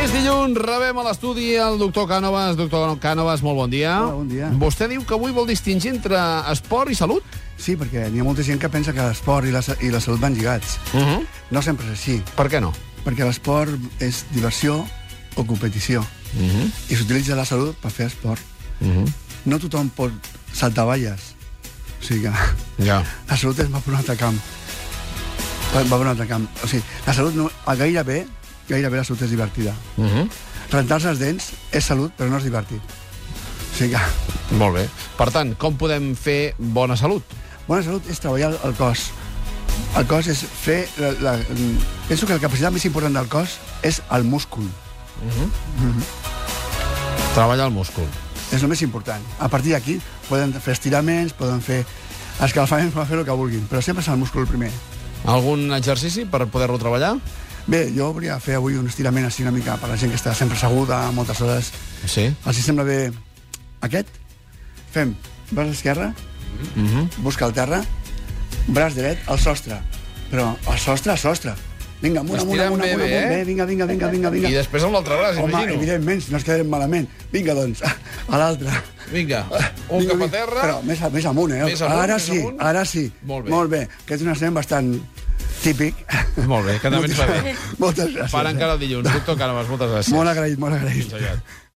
És dilluns, rebem a l'estudi el doctor Cànovas. Doctor Cànovas, molt bon dia. Hola, bon dia. Vostè diu que avui vol distingir entre esport i salut? Sí, perquè n'hi ha molta gent que pensa que l'esport i, la, sa- i la salut van lligats. Uh -huh. No sempre és així, Per què no? perquè l'esport és diversió o competició. Uh -huh. I s'utilitza la salut per fer esport. Uh -huh. No tothom pot saltar valles. O sigui que Ja. la salut és va per un altre camp. Va va per un altre camp. O sigui, la salut no, gairebé, gairebé la salut és divertida. Uh -huh. Rentar-se els dents és salut, però no és divertit. O sigui que Molt bé. Per tant, com podem fer bona salut? Bona salut és treballar el cos. El cos és fer... La, la, mm, penso que la capacitat més important del cos és el múscul. Treballar el múscul. És el més important. A partir d'aquí poden fer estiraments, poden fer escalfaments, poden fer el que vulguin, però sempre és el múscul primer. Algun exercici per poder-lo treballar? Bé, jo volia fer avui un estirament així una mica per la gent que està sempre asseguda, moltes hores. Sí. Els hi sembla bé aquest? Fem braç esquerre, Uh -huh. busca el terra, braç dret al sostre. Però al sostre, al sostre. Vinga, amunt, amunt, Estirem amunt, bé, amunt, bé, amunt. eh? Bé, vinga, vinga, vinga, vinga, vinga. I després amb l'altre braç, Home, imagino. evidentment, si no ens quedarem malament. Vinga, doncs, a l'altre. Vinga, un Vinga, cap a vinga. terra. Ah, Però més, a- més amunt, eh? Més amunt, ara més sí, amunt. ara sí. Molt bé. Molt bé, que és un escena bastant típic. Molt bé, que també ens va bé. Moltes gràcies. Per encara el dilluns. Doctor Cànovas, moltes gràcies. Molt agraït, molt agraït. Fins aviat.